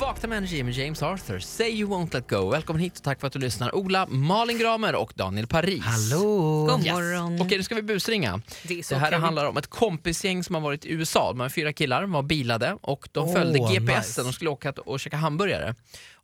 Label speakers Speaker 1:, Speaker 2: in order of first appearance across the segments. Speaker 1: Vakna med energi med James Arthur, Say You Won't Let Go. Välkommen hit och tack för att du lyssnar. Ola, Malin Gramer och Daniel Paris. Hallå!
Speaker 2: God
Speaker 1: Yes.
Speaker 2: morgon.
Speaker 1: Okej, nu ska vi busringa.
Speaker 2: Det är
Speaker 1: Det
Speaker 2: så
Speaker 1: här
Speaker 2: kul.
Speaker 1: handlar om ett kompisgäng som har varit i USA. De var fyra killar, de var bilade och de följde GPSen. De skulle åka t- och käka hamburgare.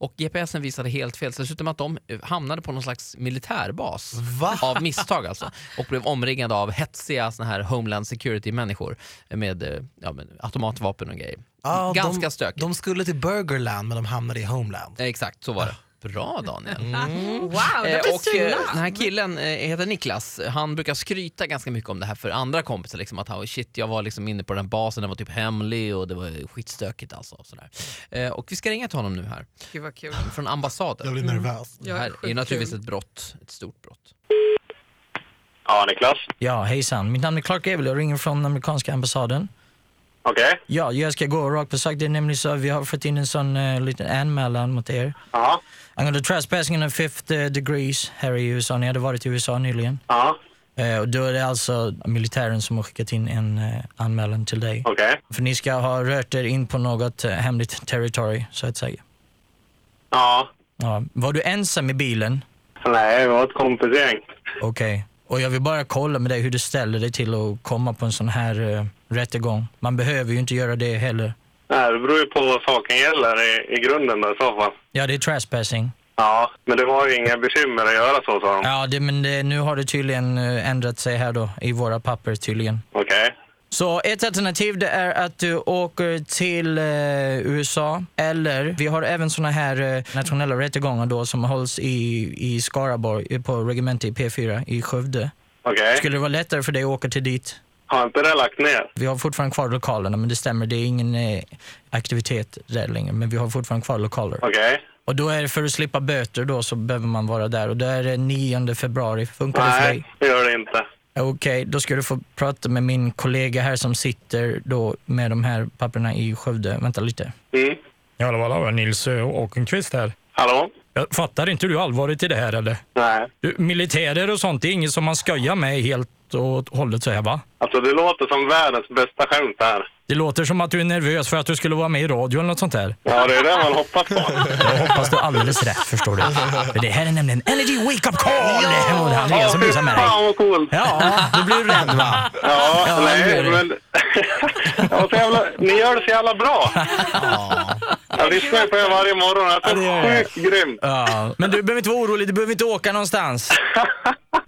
Speaker 1: Och GPSen visade helt fel, så dessutom att de eh, hamnade på någon slags militärbas. Av misstag alltså. Och blev omringade av hetsiga såna här homeland security-människor med eh, ja, men, automatvapen och grejer.
Speaker 3: Ja,
Speaker 1: Ganska
Speaker 3: de,
Speaker 1: stökigt.
Speaker 3: De skulle till Burgerland men de hamnade i Homeland.
Speaker 1: Eh, Exakt, så var
Speaker 3: Ah,
Speaker 1: det. Bra Daniel.
Speaker 2: Wow,
Speaker 1: Eh,
Speaker 2: Mm. det
Speaker 1: och, eh,
Speaker 2: blir
Speaker 1: den här killen eh, heter Niklas. Han brukar skryta ganska mycket om det här för andra kompisar. Liksom, att han, shit, jag var liksom inne på den här basen, den var typ hemlig och det var skitstökigt alltså. och Sådär. Eh, och vi ska ringa till honom nu här,
Speaker 2: Gud vad kul. Mm.
Speaker 1: från ambassaden.
Speaker 3: Jag blir nervös.
Speaker 1: Det här är ju
Speaker 2: sjukt
Speaker 1: naturligtvis
Speaker 2: kul.
Speaker 1: ett brott, ett stort brott.
Speaker 4: Ja, Niklas.
Speaker 5: Ja, hejsan. Mitt namn är Clark Evil. Jag ringer från amerikanska ambassaden.
Speaker 4: Okej.
Speaker 5: Ja, jag ska gå rakt på sak. Det är nämligen så att vi har fått in en sån eh, liten anmälan mot er.
Speaker 4: Ja.
Speaker 5: Angående trespassing and fifth eh, degrees här i USA. Ni hade varit i USA nyligen.
Speaker 4: Ja.
Speaker 5: Eh, och då är det alltså militären som har skickat in en eh, anmälan till dig.
Speaker 4: Okej.
Speaker 5: För ni ska ha rört er in på något eh, hemligt territory, så att säga.
Speaker 4: Ja.
Speaker 5: Ja. Var du ensam i bilen?
Speaker 4: Nej, vi var ett kompisgäng.
Speaker 5: Okej. Och jag vill bara kolla med dig hur du ställer dig till att komma på en sån här eh, rättegång. Man behöver ju inte göra det heller.
Speaker 4: Nej, det beror ju på vad saken gäller i, i grunden där i så fall.
Speaker 5: Ja, det är trespassing.
Speaker 4: Ja, men det var ju inga bekymmer att göra så, sa de.
Speaker 5: Ja, det, men det, nu har det tydligen eh, ändrat sig här då, i våra papper tydligen.
Speaker 4: Okej.
Speaker 5: Så ett alternativ det är att du åker till eh, USA, eller vi har även såna här eh, nationella rättegångar då som hålls i, i Skaraborg, eh, på regementet i P4 i Skövde.
Speaker 4: Okej.
Speaker 5: Skulle det vara lättare för dig att åka till dit?
Speaker 4: Har inte det lagt ner?
Speaker 5: Vi har fortfarande kvar lokalerna, men det stämmer, det är ingen eh, aktivitet där längre, men vi har fortfarande kvar lokaler.
Speaker 4: Okej.
Speaker 5: Och då är det för att slippa böter då så behöver man vara där och då är det 9 februari. Funkar det för dig?
Speaker 4: Nej, det gör det inte.
Speaker 5: Okej, då ska du få prata med min kollega här som sitter då med de här papperna i Skövde. Vänta lite.
Speaker 4: Mm.
Speaker 6: Ja, hallå, hallå, Nils eh, Åkenqvist här.
Speaker 4: Hallå?
Speaker 6: Jag fattar inte du allvaret i det här eller?
Speaker 4: Nej.
Speaker 6: Du, militärer och sånt, det är inget som man skojar med helt och hållet så här va?
Speaker 4: Alltså, det låter som världens bästa skämt det här.
Speaker 6: Det låter som att du är nervös för att du skulle vara med i radio eller något sånt där.
Speaker 4: Ja, det är det man hoppas på.
Speaker 5: Jag hoppas du är alldeles rätt, förstår du. För det här är nämligen Energy Wake Up Call! Och det är Andreas som busar med dig.
Speaker 4: fan vad coolt! Ja,
Speaker 5: Ja, du blir rädd va? det är
Speaker 4: nej,
Speaker 5: det.
Speaker 4: men... Jag var så jävla... Ni gör det så jävla bra! Jag lyssnar ju på er varje morgon. Det
Speaker 5: det
Speaker 4: är
Speaker 5: gör jag.
Speaker 4: sjukt grymt.
Speaker 5: Ja, men du behöver inte vara orolig, du behöver inte åka någonstans.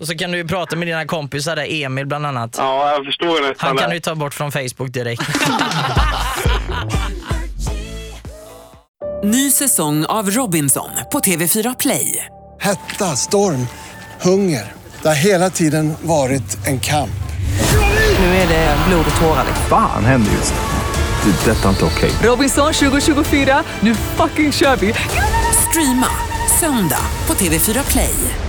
Speaker 5: Och så kan du ju prata med dina kompisar där, Emil bland annat.
Speaker 4: Ja, jag förstår nästan
Speaker 5: Han kan
Speaker 4: det.
Speaker 5: du ju ta bort från Facebook direkt.
Speaker 7: Ny säsong av Robinson på TV4 Play.
Speaker 8: Hetta, storm, hunger. Det har hela tiden varit en kamp.
Speaker 2: Nu är det blod och tårar.
Speaker 9: Fan händer just nu. Det. är Detta är inte okej.
Speaker 2: Robinson 2024, nu fucking kör vi!
Speaker 7: Streama söndag på TV4 Play.